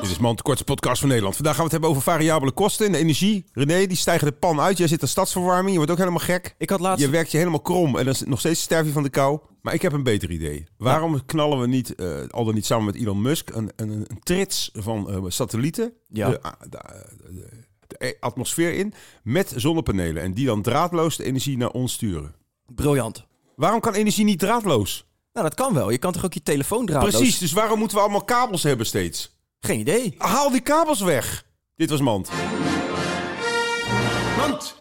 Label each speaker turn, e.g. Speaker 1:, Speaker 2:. Speaker 1: Dit is Man, de kortste podcast van Nederland. Vandaag gaan we het hebben over variabele kosten en energie. René, die stijgen de pan uit. Jij zit aan stadsverwarming. Je wordt ook helemaal gek.
Speaker 2: Ik had laatst-
Speaker 1: Je werkt je helemaal krom en dan is- nog steeds sterf je van de kou. Maar ik heb een beter idee. Waarom knallen we niet, eh, al dan niet samen met Elon Musk, een, een, een trits van eh, satellieten
Speaker 2: Ja.
Speaker 1: de, a- de, eh, de- de atmosfeer in met zonnepanelen. En die dan draadloos de energie naar ons sturen.
Speaker 2: Briljant.
Speaker 1: Waarom kan energie niet draadloos?
Speaker 2: Nou, dat kan wel. Je kan toch ook je telefoon draadloos...
Speaker 1: Precies, dus waarom moeten we allemaal kabels hebben steeds?
Speaker 2: Geen idee.
Speaker 1: Haal die kabels weg. Dit was Mand.